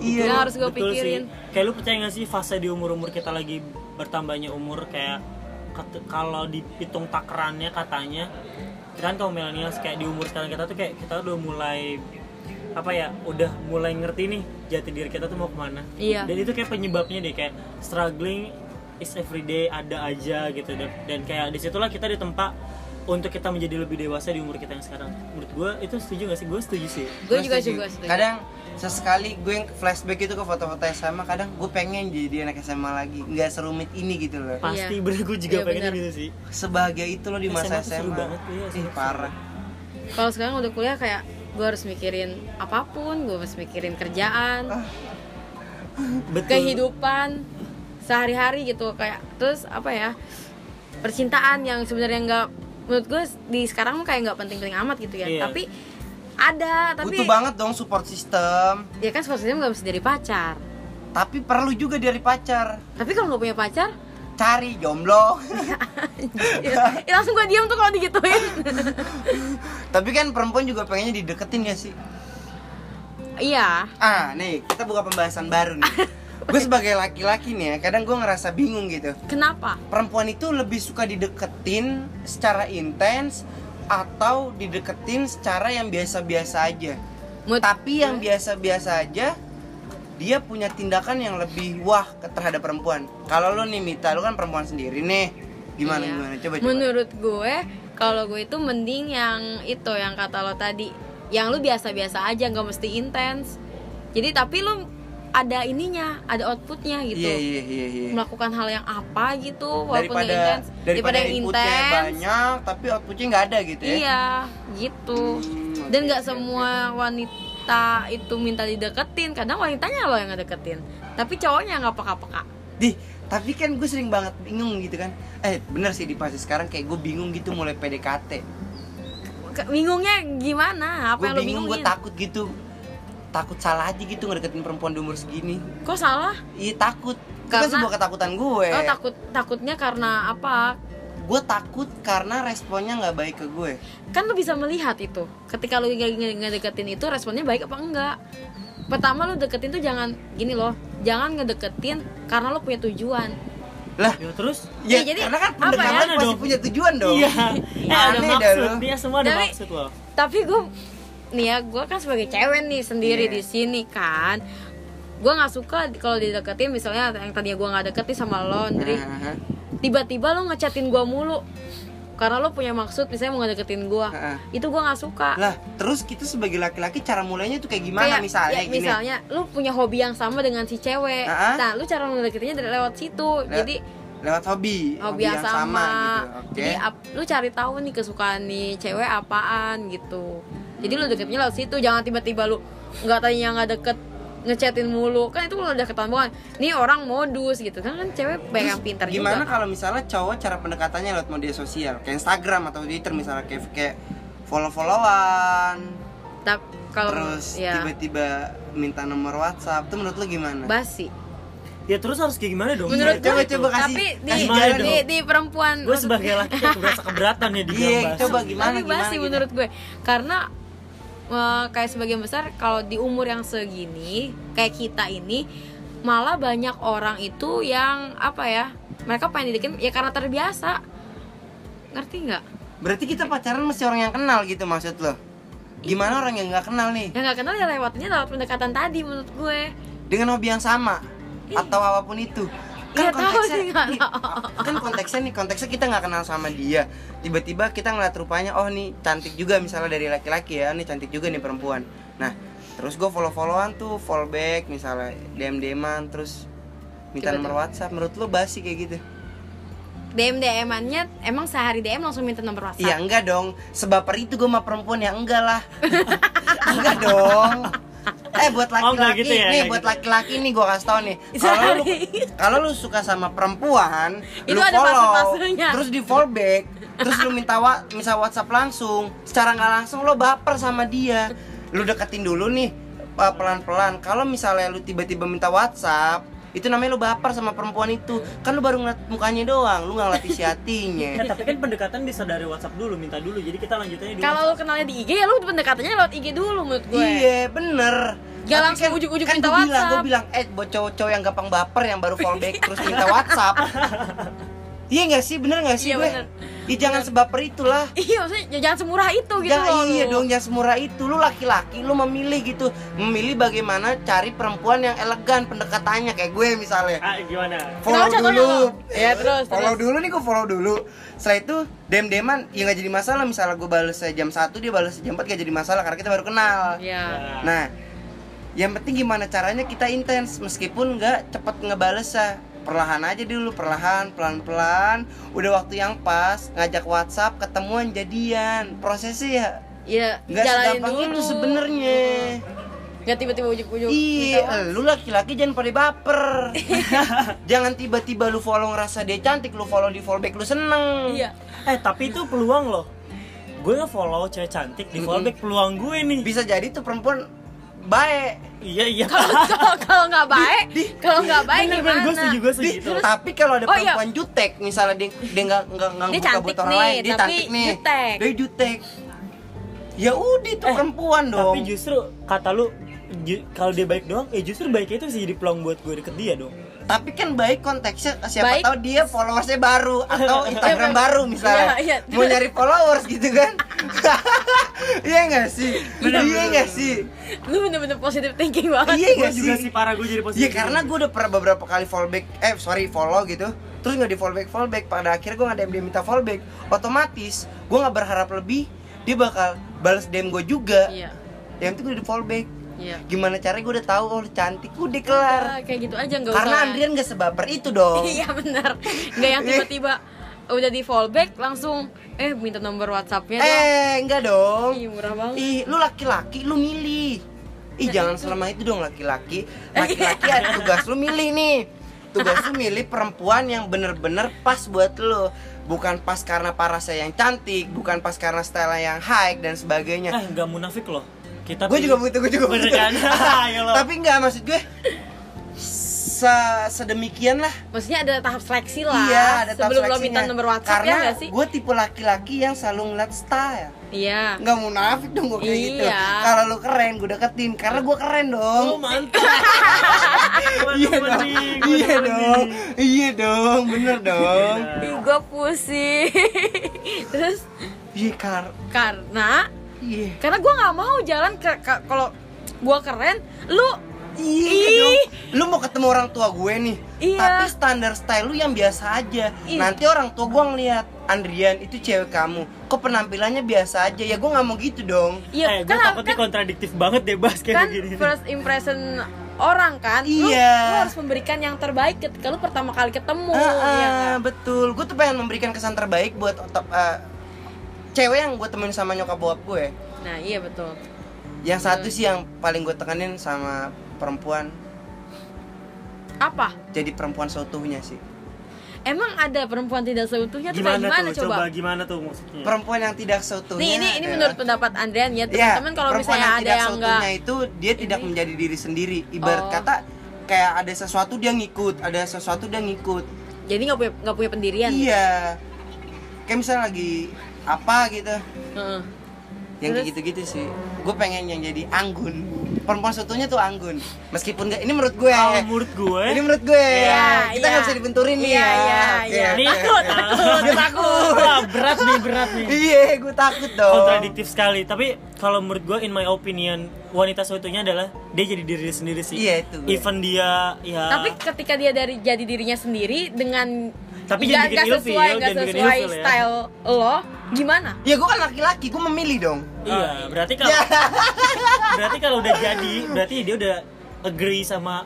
C: iya
A: yang harus gue
B: Betul
A: pikirin.
B: Sih. Kayak lu percaya gak sih fase di umur-umur kita lagi bertambahnya umur kayak ket- kalau dihitung takerannya katanya kita kan kaum milenials kayak di umur sekarang kita tuh kayak kita udah mulai apa ya udah mulai ngerti nih jati diri kita tuh mau kemana
A: Iya.
B: dan itu kayak penyebabnya deh kayak struggling is everyday ada aja gitu dan, dan kayak disitulah kita ditempa untuk kita menjadi lebih dewasa di umur kita yang sekarang menurut gue itu setuju gak sih gue setuju sih
A: Gue juga juga setuju.
C: kadang sesekali gue yang flashback itu ke foto-foto SMA kadang gue pengen jadi anak SMA lagi nggak serumit ini gitu loh
B: pasti
A: Iya.
B: bener gue juga
A: Iya,
B: pengen
A: bener.
B: gitu sih
C: sebahagia itu lo di masa
B: SMA tuh seru
C: SMA,
B: banget, iya,
C: ih
B: seru.
C: parah
A: Kalau sekarang udah kuliah kayak gue harus mikirin apapun, gue harus mikirin kerjaan,
B: Betul.
A: kehidupan sehari-hari gitu kayak terus apa ya percintaan yang sebenarnya nggak menurut gue di sekarang kayak nggak penting-penting amat gitu ya.
B: Iya.
A: Tapi ada tapi
C: butuh banget dong support system
A: ya kan seharusnya nggak bisa dari pacar
C: tapi perlu juga dari pacar
A: tapi kalau nggak punya pacar
C: cari jomblo
A: ya, ya langsung gue diam tuh kalau digituin
C: tapi kan perempuan juga pengennya dideketin ya sih
A: iya
C: ah nih kita buka pembahasan baru nih gue sebagai laki-laki nih ya kadang gue ngerasa bingung gitu
A: Kenapa?
C: perempuan itu lebih suka dideketin secara intens atau dideketin secara yang biasa-biasa aja
A: Mood-
C: tapi yang biasa-biasa aja dia punya tindakan yang lebih wah ke- terhadap perempuan kalau lo nih Mita lo kan perempuan sendiri nih gimana
A: Iya.
C: gimana coba coba
A: Menurut gue, kalau gue itu mending yang itu yang kata lo tadi, yang lu biasa-biasa aja, nggak mesti intens. Jadi tapi lu ada ininya, ada outputnya gitu.
C: iya iya iya iya
A: Melakukan hal yang apa gitu, walaupun nggak
C: daripada
A: intens.
C: daripada
A: yang
C: inputnya
A: intens.
C: banyak ya. tapi outputnya nggak ada gitu ya
A: Iya, gitu.
C: Hmm,
A: Dan
C: oke,
A: nggak
C: oke,
A: semua wanita itu minta dideketin, kadang wanitanya lo yang ngedeketin. Tapi cowoknya nggak peka-peka.
C: Dih, tapi kan gue sering banget bingung gitu kan. Eh, bener sih di fase sekarang kayak gue bingung gitu mulai PDKT.
A: Ke- Bingungnya gimana? Apa
C: Gue
A: yang lo
C: bingung, gue
A: bingungin?
C: takut gitu. Takut salah aja gitu ngedeketin perempuan di umur segini.
A: Kok salah?
C: Iya, takut. Itu kan
A: Karena-
C: sebuah ketakutan gue.
A: Oh takut takutnya karena apa?
C: Gue takut karena responnya nggak baik ke gue.
A: Kan lu bisa melihat itu. Ketika lu nge- nge- ngedeketin itu responnya baik apa enggak? Pertama lu deketin tuh jangan gini loh. Jangan ngedeketin karena lu punya tujuan.
C: Lah,
B: ya terus
C: ya,
A: Iya, jadi
C: karena kan
A: apa ya?
C: pendekatan
B: Ada
C: pasti
B: dong.
C: punya tujuan dong.
B: iya eh ada
C: Aneh dah
B: maksud
C: lu.
B: dia semua ada
A: Tapi-
B: maksud loh
A: Tapi gue nih ya, gue kan sebagai cewek nih sendiri
C: Iya.
A: di sini kan. Gue nggak suka kalau dideketin misalnya yang tadinya gue nggak deketin sama lo, Ndri.
C: Heeh,
A: nah. Tiba-tiba lo ngechatin gue mulu. Karena lo punya maksud misalnya mau ngedeketin gue.
C: heeh.
A: Itu gue nggak suka.
C: Lah, terus kita sebagai laki-laki cara mulainya tuh kayak gimana
A: Kayak,
C: misalnya
A: ya,
C: gini.
A: misalnya lu punya hobi yang sama dengan si cewek
C: Ah-ah.
A: nah lu cara mendeketinnya dari lewat situ
C: Le-
A: jadi
C: lewat hobi,
A: hobi yang sama,
C: gitu. Oke.
A: jadi ap- lu cari tahu nih kesukaan nih cewek apaan gitu jadi lu deketnya lewat situ jangan tiba-tiba lu nggak tanya nggak deket ngechatin mulu kan itu udah deketan banget nih orang modus gitu kan kan cewek banyak yang pintar
C: gimana
A: juga
C: kalau misalnya cowok cara pendekatannya lewat media sosial kayak Instagram atau Twitter misalnya kayak kayak follow followan
A: Tap- kalau
C: terus
A: ya
C: tiba-tiba minta nomor WhatsApp itu menurut lo gimana?
A: basi
B: ya terus harus kayak gimana dong
A: menurut
C: Iya, coba-
A: gue
C: coba kasih-
A: tapi di,
C: kasih
B: jalan
A: di,
B: dong.
A: di perempuan
B: gue sebagai laki aku merasa keberatan ya di
C: Iya, coba gimana
A: tapi basi
C: gimana,
A: menurut gue karena eh, kayak sebagian besar kalau di umur yang segini kayak kita ini malah banyak orang itu yang apa ya mereka pengen dideketin ya karena terbiasa ngerti nggak
C: gimana? Berarti kita pacaran mesti orang yang kenal gitu maksud lo? Gimana orang yang nggak kenal nih
A: yang nggak kenal ya lewatnya lewat pendekatan tadi menurut gue
C: dengan hobi yang sama atau apapun itu?
A: Iya,
C: Kan
A: tahu sih, nggak
C: nih, kan konteksnya nih konteksnya kita nggak kenal sama dia tiba-tiba kita ngeliat rupanya oh nih cantik juga misalnya dari laki-laki ya nih cantik juga nih perempuan nah terus gue follow followan tuh follow back misalnya dm dman terus minta
A: Tiba-tiba.
C: nomor whatsapp menurut lo basi kayak gitu
A: DM DM-annya emang sehari DM langsung minta nomor WhatsApp.
C: iya enggak dong sebaper itu gue sama perempuan ya enggak lah enggak dong eh buat
B: Oh, enggak
C: laki-laki
B: gitu ya,
C: nih
B: enggak
C: buat
B: gitu.
C: laki-laki nih gue kasih tau nih kalau lu
A: Sorry.
C: kalau lu suka sama perempuan
A: Itu
C: lu
A: ada
C: follow
A: fase-fasenya.
C: terus di follow back terus lu minta wa misal WhatsApp langsung secara nggak langsung lo baper sama dia lu deketin dulu nih uh, pelan-pelan kalau misalnya lu tiba-tiba minta WhatsApp itu namanya lu baper sama perempuan itu kan lu baru ngeliat mukanya doang lu nggak ngeliat isi hatinya
B: Ya, tapi kan pendekatan bisa dari WhatsApp dulu, minta dulu. Jadi kita lanjutannya di
A: Kalau lu kenalnya di IG ya lu pendekatannya lewat IG dulu menurut gue.
C: Iya bener
A: Gak
C: Tapi
A: langsung
C: kan-
A: ujuk-ujuk
C: kan
A: minta
C: gua bilang,
A: WhatsApp.
C: Gue bilang, eh buat cowok-cowok yang gampang baper yang baru fallback terus minta WhatsApp Iya gak sih? Bener gak sih
A: Iya,
C: gue?
A: bener.
C: Ih, jangan sebaper itulah
A: Iya, maksudnya ya jangan semurah itu gitu
C: Jangan,
A: loh.
C: iya
A: lu.
C: dong, jangan semurah itu Lu laki-laki, lu memilih gitu Memilih bagaimana cari perempuan yang elegan pendekatannya Kayak gue misalnya
B: Ah, gimana?
C: follow
A: Kenapa contohnya
C: dulu
A: lo?
C: ya
A: Terus,
C: terus follow
A: terus.
C: dulu nih gue follow dulu setelah itu dem deman ya nggak jadi masalah misalnya gue balas jam 1 dia balas jam 4 gak jadi masalah karena kita baru kenal
A: Iya.
B: Nah,
C: Nah, yang penting gimana caranya kita intens meskipun nggak cepet ngebalesnya perlahan aja dulu perlahan pelan pelan udah waktu yang pas ngajak WhatsApp ketemuan jadian prosesnya ya
A: Iya,
C: nggak
A: jalanin
C: segampang
A: dulu.
C: itu sebenarnya
A: Nggak tiba-tiba ujuk-ujuk. minta
C: iya lu laki laki jangan pada baper jangan tiba tiba lu follow ngerasa dia cantik lu follow di follow back lu
A: uang.
C: seneng
A: Iya.
B: eh tapi itu peluang loh. Gue nge-follow cewek cantik di follow back peluang gue nih.
C: bisa jadi tuh perempuan baik
B: Iya, iya.
A: Kalau kalau nggak baik, kalau nggak baik
B: Bener, bener,
A: gimana?
B: gue setuju, gue setuju.
C: Di- tapi kalau ada
A: Oh, iya.
C: perempuan jutek misalnya dia dia nggak nggak nggak
A: Dia
C: buka
A: cantik
C: buat orang
A: nih,
C: lain dia
A: tapi
C: cantik nih
A: jutek.
C: dia jutek ya udah itu
B: Eh,
C: perempuan dong
B: Tapi justru kata lu ju- kalau dia baik doang ya justru baiknya itu bisa jadi peluang buat gue deket dia dong
C: tapi kan baik konteksnya siapa
A: Baik.
C: tahu dia followersnya baru atau Instagram
A: Iya,
C: baru misalnya
A: iya, iya.
C: mau nyari followers gitu kan iya nggak sih iya nggak sih
A: lu bener-bener positive thinking banget
C: Iya
B: gue
C: nggak
B: juga
C: sih?
B: sih parah gue jadi
A: Oh,
B: positif
C: Iya karena gue udah pernah beberapa kali fallback, eh sorry follow gitu Terus nggak di fallback fallback, pada akhirnya gue nggak DM dia minta fallback Otomatis gue nggak berharap lebih, dia bakal balas DM gue juga
A: iya
C: Yang itu gue di fallback
A: iya
C: Gimana caranya gue udah tahu oh lu cantik, udah kelar
A: Ah, kayak gitu aja nggak usah
C: Karena Andrian gak sebaper itu dong
A: iya benar nggak yang tiba-tiba udah di fallback langsung eh minta nomor WhatsAppnya dong
C: Eh enggak dong
A: Ih, murah banget
C: Ih, lu laki-laki lu milih. Ih, jangan selama itu dong laki-laki. Laki-laki ada tugas lu milih nih. Tugas lu milih perempuan yang bener-bener pas buat lu. Bukan pas karena parasnya yang cantik, bukan pas karena style yang high dan sebagainya.
B: eh nggak munafik loh kita
C: Gue juga
B: pilih-
C: butuh, gue juga
B: Bener
C: butuh.
B: kan? Ya lo.
C: Tapi enggak maksud gue se- sedemikian lah
A: maksudnya ada tahap seleksi lah
C: Iya, ada tahap
A: sebelum lo
C: seleksinya.
A: minta nomor WhatsApp
C: Karena
A: ya nggak sih
C: gue tipe laki-laki yang selalu ngeliat style
A: iya
C: nggak munafik dong gue kayak gitu
A: Iya.
C: kalau lu keren gue deketin karena gue keren dong
B: Oh, mantap. Mantap,
C: iya dong
B: penting,
C: iya
B: mantap,
C: dong
B: penting.
C: iya dong bener dong
A: gue pusing terus
C: iya kar
A: karena
C: iya
A: karena gue nggak mau jalan ke, ke- kalau gue keren lu
C: Iya
A: Ih.
C: dong. Lu mau ketemu orang tua gue nih.
A: Iya.
C: Tapi standar style lu yang biasa aja.
A: Ih.
C: Nanti orang tua gue ngeliat Andrian itu cewek kamu. Kok penampilannya biasa aja? Ya gue nggak mau gitu dong.
B: eh,
A: iya
B: gue
A: kan
B: takutnya kontradiktif banget deh Bas kayak
A: kan
B: gini.
A: first impression orang kan Lu-
C: Iya.
A: lu, harus memberikan yang terbaik ketika lu pertama kali ketemu
C: Ah, ah,
A: iya kan?
C: betul. Gue tuh pengen memberikan kesan terbaik buat otak- eh, cewek yang gue temuin sama nyokap bokap gue.
A: nah iya betul
C: Yang satu
B: Hmm.
C: sih yang paling gue tekanin sama perempuan
A: apa
C: jadi perempuan seutuhnya sih.
A: emang ada perempuan tidak seutuhnya tuh kayak gimana
B: tuh?
A: coba,
B: gimana tuh maksudnya?
C: Perempuan yang tidak seutuhnya.
A: nih ini ini
C: adalah-
A: menurut pendapat Andrean ya
C: Iya,
A: teman-teman kalau
C: perempuan
A: misalnya ada
C: tidak
A: yang enggak
C: seutuhnya itu dia tidak
A: Ini.
C: menjadi diri sendiri. Ibarat
A: Oh.
C: kata kayak ada sesuatu dia ngikut, ada sesuatu dia ngikut.
A: jadi nggak punya nggak punya pendirian
C: Iya. Kayak misalnya lagi apa gitu.
A: Heeh.
C: Yang kayak
A: Terus?
C: gitu-gitu sih. Gue pengen yang jadi anggun. Perempuan seutuhnya tuh anggun. Meskipun gak, ini menurut gue.
B: Kalau Oh, menurut gue,
C: Ini menurut gue.
A: Iya,
C: Kita nggak
A: iya.
C: bisa dibenturin nih
A: Iya,
C: ya.
A: iya,
C: Oke,
A: iya.
C: oke.
B: Nih, takut, takut, takut. Wah, berat nih, berat nih.
C: Iya, gue takut dong.
B: Kontradiktif sekali. Tapi kalau menurut gue, in my opinion, wanita seutuhnya adalah dia jadi diri sendiri sih.
C: Iya, itu gue.
B: Even dia, ya.
A: tapi ketika dia dari jadi dirinya sendiri dengan
B: Tapi
A: nggak
B: jangan bikin
A: nggak
B: ilfil,
A: sesuai nggak
B: jangan bikin
A: sesuai
B: ilfil ya.
A: style lo gimana
C: Ya gue kan laki-laki, gue memilih dong.
A: Ah,
B: iya. Berarti kalau, berarti kalau udah jadi, berarti dia udah agree sama.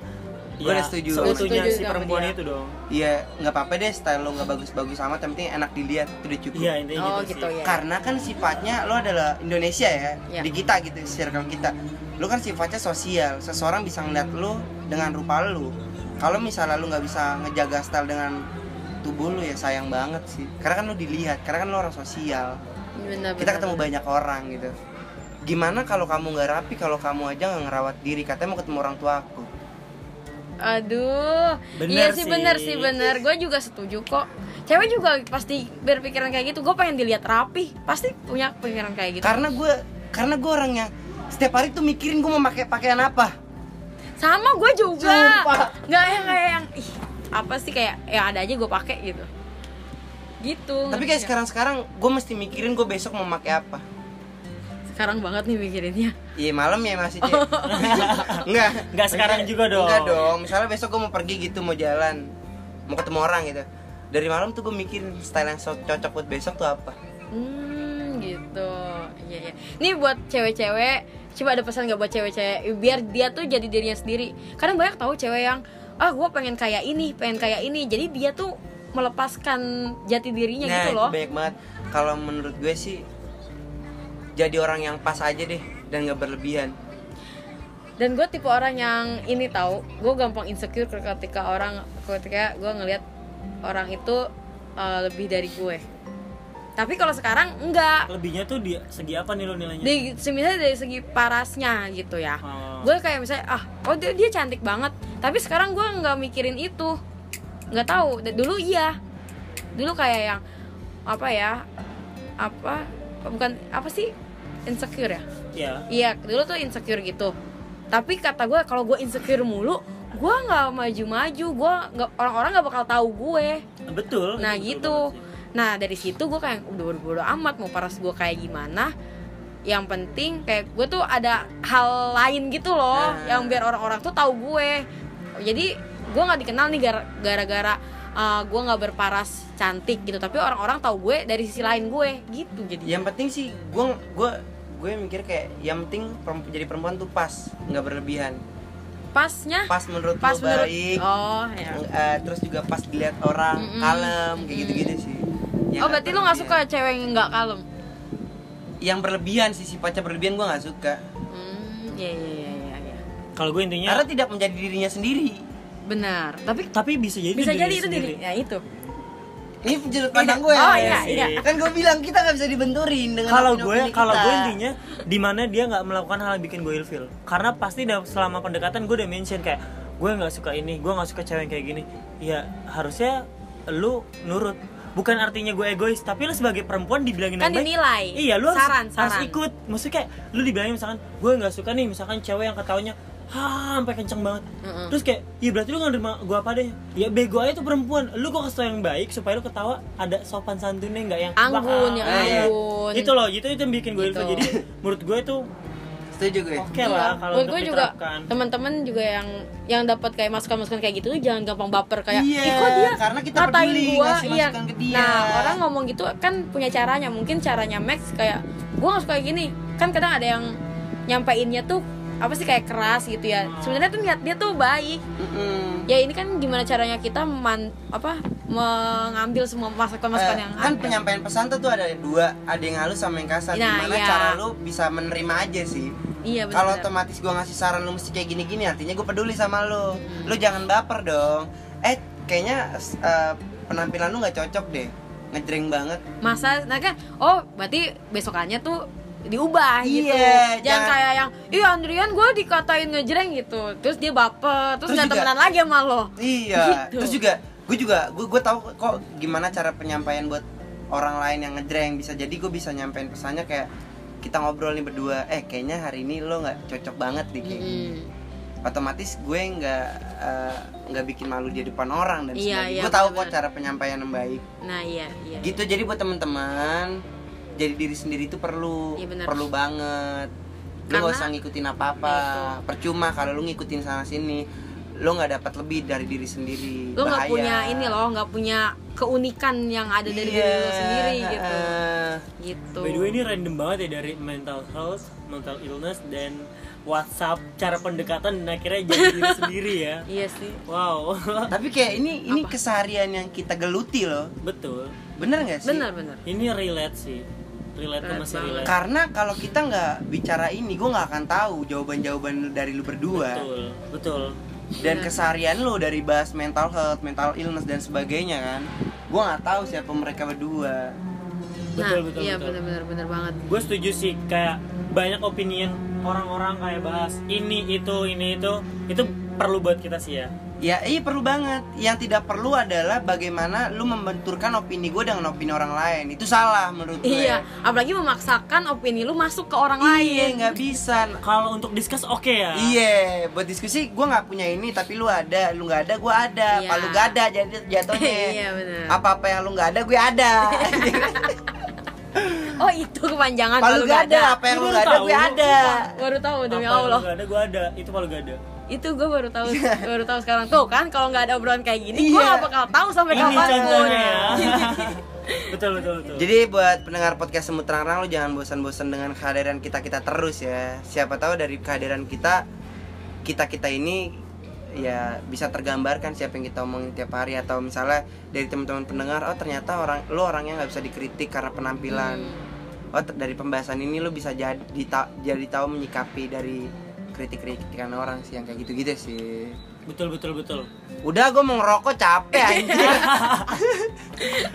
C: Gue udah setuju.
B: Seutuhnya
A: Setuju
B: si
A: sama
B: perempuan
A: dia.
B: itu dong.
C: Iya, nggak apa-apa deh style lo nggak bagus-bagus amat, yang penting enak dilihat itu udah cukup.
B: Iya, intinya
A: oh
B: gitu,
A: gitu
B: sih.
A: ya
C: Karena kan sifatnya lo adalah Indonesia ya,
A: Iya.
C: di kita gitu, circle kita. Lo kan sifatnya sosial, seseorang bisa ngeliat lo dengan rupa lo. Kalau misalnya lo nggak bisa ngejaga style dengan tubuh lo ya sayang banget sih. Karena kan lo dilihat, karena kan lo orang sosial.
A: Bener,
C: Kita
A: bener.
C: ketemu banyak orang gitu. Gimana kalau kamu nggak rapi, kalau kamu aja nggak ngerawat diri, katanya mau ketemu orang tua aku.
A: Aduh,
B: Bener
A: iya sih
B: sih.
A: bener sih bener. Gue juga setuju kok. Cewek juga pasti berpikiran kayak gitu. Gue pengen dilihat rapi, pasti punya pikiran kayak gitu.
C: Karena gue, karena gue orang yang setiap hari tuh mikirin gue mau pakai pakaian apa.
A: Sama gue juga.
C: Sumpah.
A: Nggak yang kayak yang ih apa sih kayak ya ada aja gue pakai gitu. Gitu.
C: Tapi
A: ngerti
C: kayak
A: nggak?
C: sekarang-sekarang gue mesti mikirin gue besok mau pakai apa.
A: sekarang banget nih mikirinnya.
C: Iya malam ya masih
A: Oh.
C: cek. Enggak.
B: Nggak sekarang juga dong.
C: Enggak dong. Misalnya besok gue mau pergi gitu mau jalan, mau ketemu orang gitu. Dari malam tuh gue mikirin style yang so- cocok buat besok tuh apa.
A: Hmm, gitu. Iya, iya. Nih buat cewek-cewek, coba ada pesan gak buat cewek-cewek biar dia tuh jadi dirinya sendiri. Kadang banyak tahu cewek yang ah gue pengen kayak ini, pengen kayak ini. Jadi dia tuh melepaskan jati dirinya gitu
C: itu
A: loh.
C: Nah, banyak banget. Kalau menurut gue sih jadi orang yang pas aja deh dan nggak berlebihan.
A: Dan gue tipe orang yang ini tahu, gue gampang insecure ketika orang ketika gue ngelihat orang itu uh, lebih dari gue. Tapi kalau sekarang enggak.
B: Lebihnya tuh dia segi apa nih lo nilainya?
A: iya. Di, misalnya dari segi parasnya gitu ya.
B: Oh.
A: gue kayak misalnya ah oh dia, dia cantik banget tapi sekarang gue nggak mikirin itu nggak tahu D- dulu iya dulu kayak yang apa ya apa bukan apa sih insecure ya
B: Iya.
A: iya dulu tuh insecure gitu tapi kata gue kalau gue insecure mulu gue nggak maju-maju gue nggak orang-orang nggak bakal tahu gue
B: betul
A: nah
B: itu betul
A: gitu
B: banget sih.
A: nah dari situ gue kayak udah bodo-bodo amat mau paras gue kayak gimana yang penting kayak gue tuh ada hal lain gitu loh
C: Nah.
A: yang biar orang-orang tuh tahu gue jadi gue nggak dikenal nih gara- gara-gara uh, gue nggak berparas cantik gitu tapi orang-orang tahu gue dari sisi lain gue gitu jadi
C: yang penting sih gue gue gue mikir kayak yang penting peremp- jadi perempuan tuh pas nggak berlebihan
A: pasnya
C: pas menurut
A: pas
C: lo
A: menurut
C: baik
A: oh ya
C: eh, terus juga pas dilihat orang
A: Mm-mm.
C: kalem kayak
A: Mm-mm.
C: gitu-gitu sih Yang
A: oh berarti lo nggak suka
C: berlebihan.
A: cewek yang nggak kalem
C: yang berlebihan sih sifatnya berlebihan gue nggak suka
A: hmm ya ya ya ya, ya.
B: kalau gue intinya
C: karena tidak menjadi dirinya sendiri
A: benar tapi
B: tapi bisa jadi
A: bisa
B: diri
A: jadi itu
B: sendiri.
A: diri ya itu
C: ini sudut pandang gue
A: oh
C: Res.
A: iya
B: sih.
A: iya
C: kan gue bilang kita nggak bisa dibenturin dengan
B: kalau gue
C: opini-opini
B: kalau
C: kita.
B: gue intinya dimana dia nggak melakukan hal yang bikin gue ilfil karena pasti dalam selama pendekatan gue udah mention kayak gue nggak suka ini gue nggak suka cewek yang kayak gini ya harusnya lu nurut bukan artinya gue egois tapi lu sebagai perempuan dibilangin
A: Kan
B: yang baik,
A: dinilai.
B: iya lu harus,
A: Saran,
B: harus
A: saran.
B: ikut maksudnya kayak lu dibilangin misalkan gue nggak suka nih misalkan cewek yang ketawanya "Hah, sampai kenceng banget
A: Mm-mm.
B: terus kayak iya berarti lu nggak nerima gue apa deh ya bego aja tuh perempuan lu kok kasih tau yang baik supaya lu ketawa ada sopan santunnya nggak yang "Wah,
A: Anggun, ya yang
C: eh,
B: ah, iya."
A: anggun.
B: itu loh itu itu yang bikin gue ilfil
A: Gitu.
B: jadi menurut gue itu
C: setuju ya? gue
B: oke lah kalau
A: buat
B: untuk
A: gue Iya. juga gitu.
B: diterapkan
A: teman-teman juga yang yang dapat kayak masukan-masukan kayak gitu tuh jangan gampang baper kayak
C: Iya,
A: "Ih, kok dia
C: karena kita
A: ngatain
C: peduli,
A: gua?"
C: ngasih
A: Iya.
C: masukan ke dia.
A: nah orang ngomong gitu kan punya caranya mungkin caranya Max kayak gue gak suka kayak gini kan kadang ada yang nyampainnya tuh apa sih kayak keras gitu ya
C: Hmm.
A: sebenarnya tuh niat dia tuh baik
C: Mm-mm.
A: ya ini kan gimana caranya kita man apa mengambil semua masukan-masukan
C: Eh,
A: yang
C: kan
A: ada.
C: penyampaian pesan tuh tuh ada dua ada yang halus sama yang kasar
A: Nah,
C: gimana
A: iya.
C: cara lu bisa menerima aja sih
A: iya benar
C: kalau otomatis gua ngasih saran lu mesti kayak gini-gini artinya gue peduli sama lu lu jangan baper dong eh kayaknya s- eh, penampilan lu nggak cocok deh ngejreng banget
A: masa nah kan oh berarti besokannya tuh diubah gitu jangan,
C: Iya, jangan-
A: kayak yang iya Andrian gue dikatain ngejreng gitu terus dia baper terus
C: Terus
A: nggak
C: juga-
A: temenan lagi sama lo
C: iya
A: Gitu.
C: terus juga gue juga gue gue tahu kok gimana cara penyampaian buat orang lain yang ngejreng bisa jadi gue bisa nyampein pesannya kayak kita ngobrol nih berdua eh kayaknya hari ini lo nggak cocok banget nih kayak gini."
A: Mm.
C: otomatis gue nggak eh, nggak bikin malu di depan orang dan
A: Iya,
C: sebagainya.
A: iya,
C: gue tahu kok
A: benar-benar.
C: cara penyampaian yang baik
A: nah iya iya
C: gitu jadi buat teman-teman jadi diri sendiri itu perlu
A: Iya, benar.
C: perlu banget lu
A: Karena- Gitu.
C: gak usah ngikutin apa apa
A: Itu.
C: percuma kalau lu ngikutin sana sini lu nggak dapat lebih dari diri sendiri
A: lo nggak
C: Bahaya.
A: punya ini loh nggak punya keunikan yang ada dari diri lo
C: Iya,
A: sendiri gitu
C: heeh.
A: gitu
B: by the way ini random banget ya dari mental health mental illness dan WhatsApp cara pendekatan dan akhirnya jadi diri sendiri ya
A: iya sih
B: wow
C: tapi kayak ini ini keseharian yang kita geluti loh
B: betul
C: bener nggak sih
A: benar benar
B: ini relate sih relate tuh
A: Relate
B: masih
A: banget.
B: relate
C: karena kalau kita nggak bicara ini gue nggak akan tahu jawaban-jawaban dari lu berdua
B: betul betul
C: dan keseharian lo dari bahas mental health, mental illness dan sebagainya kan gua nggak tahu siapa mereka berdua
A: nah
B: betul betul
A: iya
B: betul.
A: benar benar benar banget
B: gue setuju sih kayak banyak opinion orang-orang kayak bahas ini itu ini itu itu perlu buat kita sih ya
C: ya iya perlu banget yang tidak perlu adalah bagaimana lu membenturkan opini gue dengan opini orang lain itu salah menurut gue
A: iya apalagi memaksakan opini lu masuk ke orang
C: iya
A: lain
C: nggak bisa
B: kalau untuk discuss oke ya
C: Iya, buat diskusi gue nggak punya ini tapi lu ada, lu nggak ada gue ada,
A: Iya.
C: kalau gak ada jadi jatuhnya
A: Iya, benar.
C: apa apa yang lu nggak ada gue ada,
A: oh itu kepanjangan
C: kalau
A: palu
C: gak ada
A: gada.
C: apa yang lu
B: Lu
C: nggak ada
B: tahu,
C: gue
B: lu
C: ada,
A: baru tahu demi
B: Apa,
A: Allah
B: lu gak ada gue ada itu palu gak ada
A: itu gue baru tahu baru tahu sekarang tuh kan kalau nggak ada obrolan kayak gini gue
C: Iya.
A: gak bakal tahu sampai
B: ini
A: kapanpun
B: contohnya ya betul betul betul
C: Jadi buat pendengar podcast Semut Terang-Terang lu jangan bosan-bosan dengan kehadiran kita-kita terus ya. Siapa tahu dari kehadiran kita kita-kita ini ya bisa tergambarkan siapa yang kita omongin tiap hari atau misalnya dari teman-teman pendengar oh ternyata orang lu orangnya nggak bisa dikritik karena penampilan. Oh ter- dari pembahasan ini lu bisa jadi ta- jadi tahu menyikapi dari kritik-kritikan orang sih yang kayak gitu-gitu sih.
B: betul betul betul
C: Udah gue mau ngerokok capek anjir.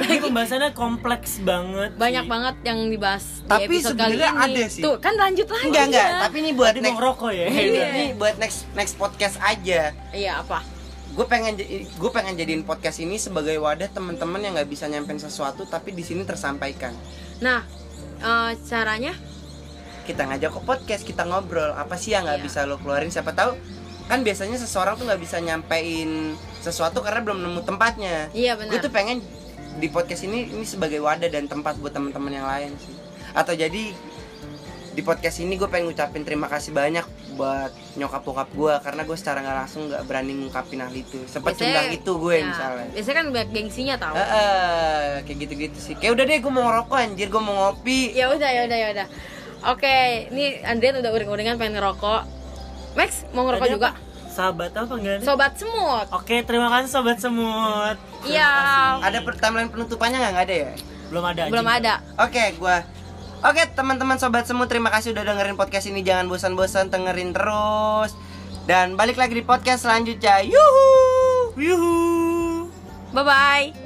B: ini pembahasannya kompleks banget
A: banyak
B: sih.
A: banget yang dibahas
C: Tapi
A: di episode kali ini
C: sebenarnya ada sih.
A: tuh kan lanjut lagi
C: enggak enggak,
A: ya.
C: tapi ini buat
B: Tadi mau
C: next
B: ngerokok ya
C: Ini ini buat next next podcast aja.
A: iya apa
C: Gue pengen gue pengen jadiin podcast ini sebagai wadah teman-teman yang nggak bisa nyampein sesuatu tapi di sini tersampaikan.
A: nah eh, Nah, caranya
C: kita ngajak ke podcast kita ngobrol apa sih yang
A: Iya.
C: nggak bisa lo keluarin siapa tahu kan biasanya seseorang tuh nggak bisa nyampein sesuatu karena belum nemu tempatnya
A: Iya
C: gue
A: benar.
C: tuh pengen di podcast ini ini sebagai wadah dan tempat buat teman-teman yang lain sih atau jadi di podcast ini gue pengen ngucapin terima kasih banyak buat nyokap bokap gue karena gue secara nggak langsung nggak berani ngungkapin hal itu sempat
A: Biasanya-
C: cundang itu gue
A: ya,
C: misalnya
A: Biasanya kan banyak gengsinya tau.
C: Heeh, kayak gitu-gitu sih kayak udah deh gue mau ngerokok anjir gue mau ngopi
A: Ya udah ya udah ya udah. Oke, ini Andrian udah uring-uringan pengen ngerokok. Max mau ngerokok
B: Tadi
A: juga?
B: apa? Sahabat apa enggak nih?
A: Sobat semut.
B: Oke, terima kasih sobat semut.
A: Iya.
C: ada per- timeline penutupannya nggak nggak ada ya
B: Belum ada.
A: Belum
B: anjing.
A: ada.
C: Oke, gua Oke, teman-teman sobat semut, terima kasih udah dengerin podcast ini. Jangan bosan-bosan dengerin terus. Dan balik lagi di podcast selanjutnya. Yuhu!
B: Yuhuu.
A: Bye bye.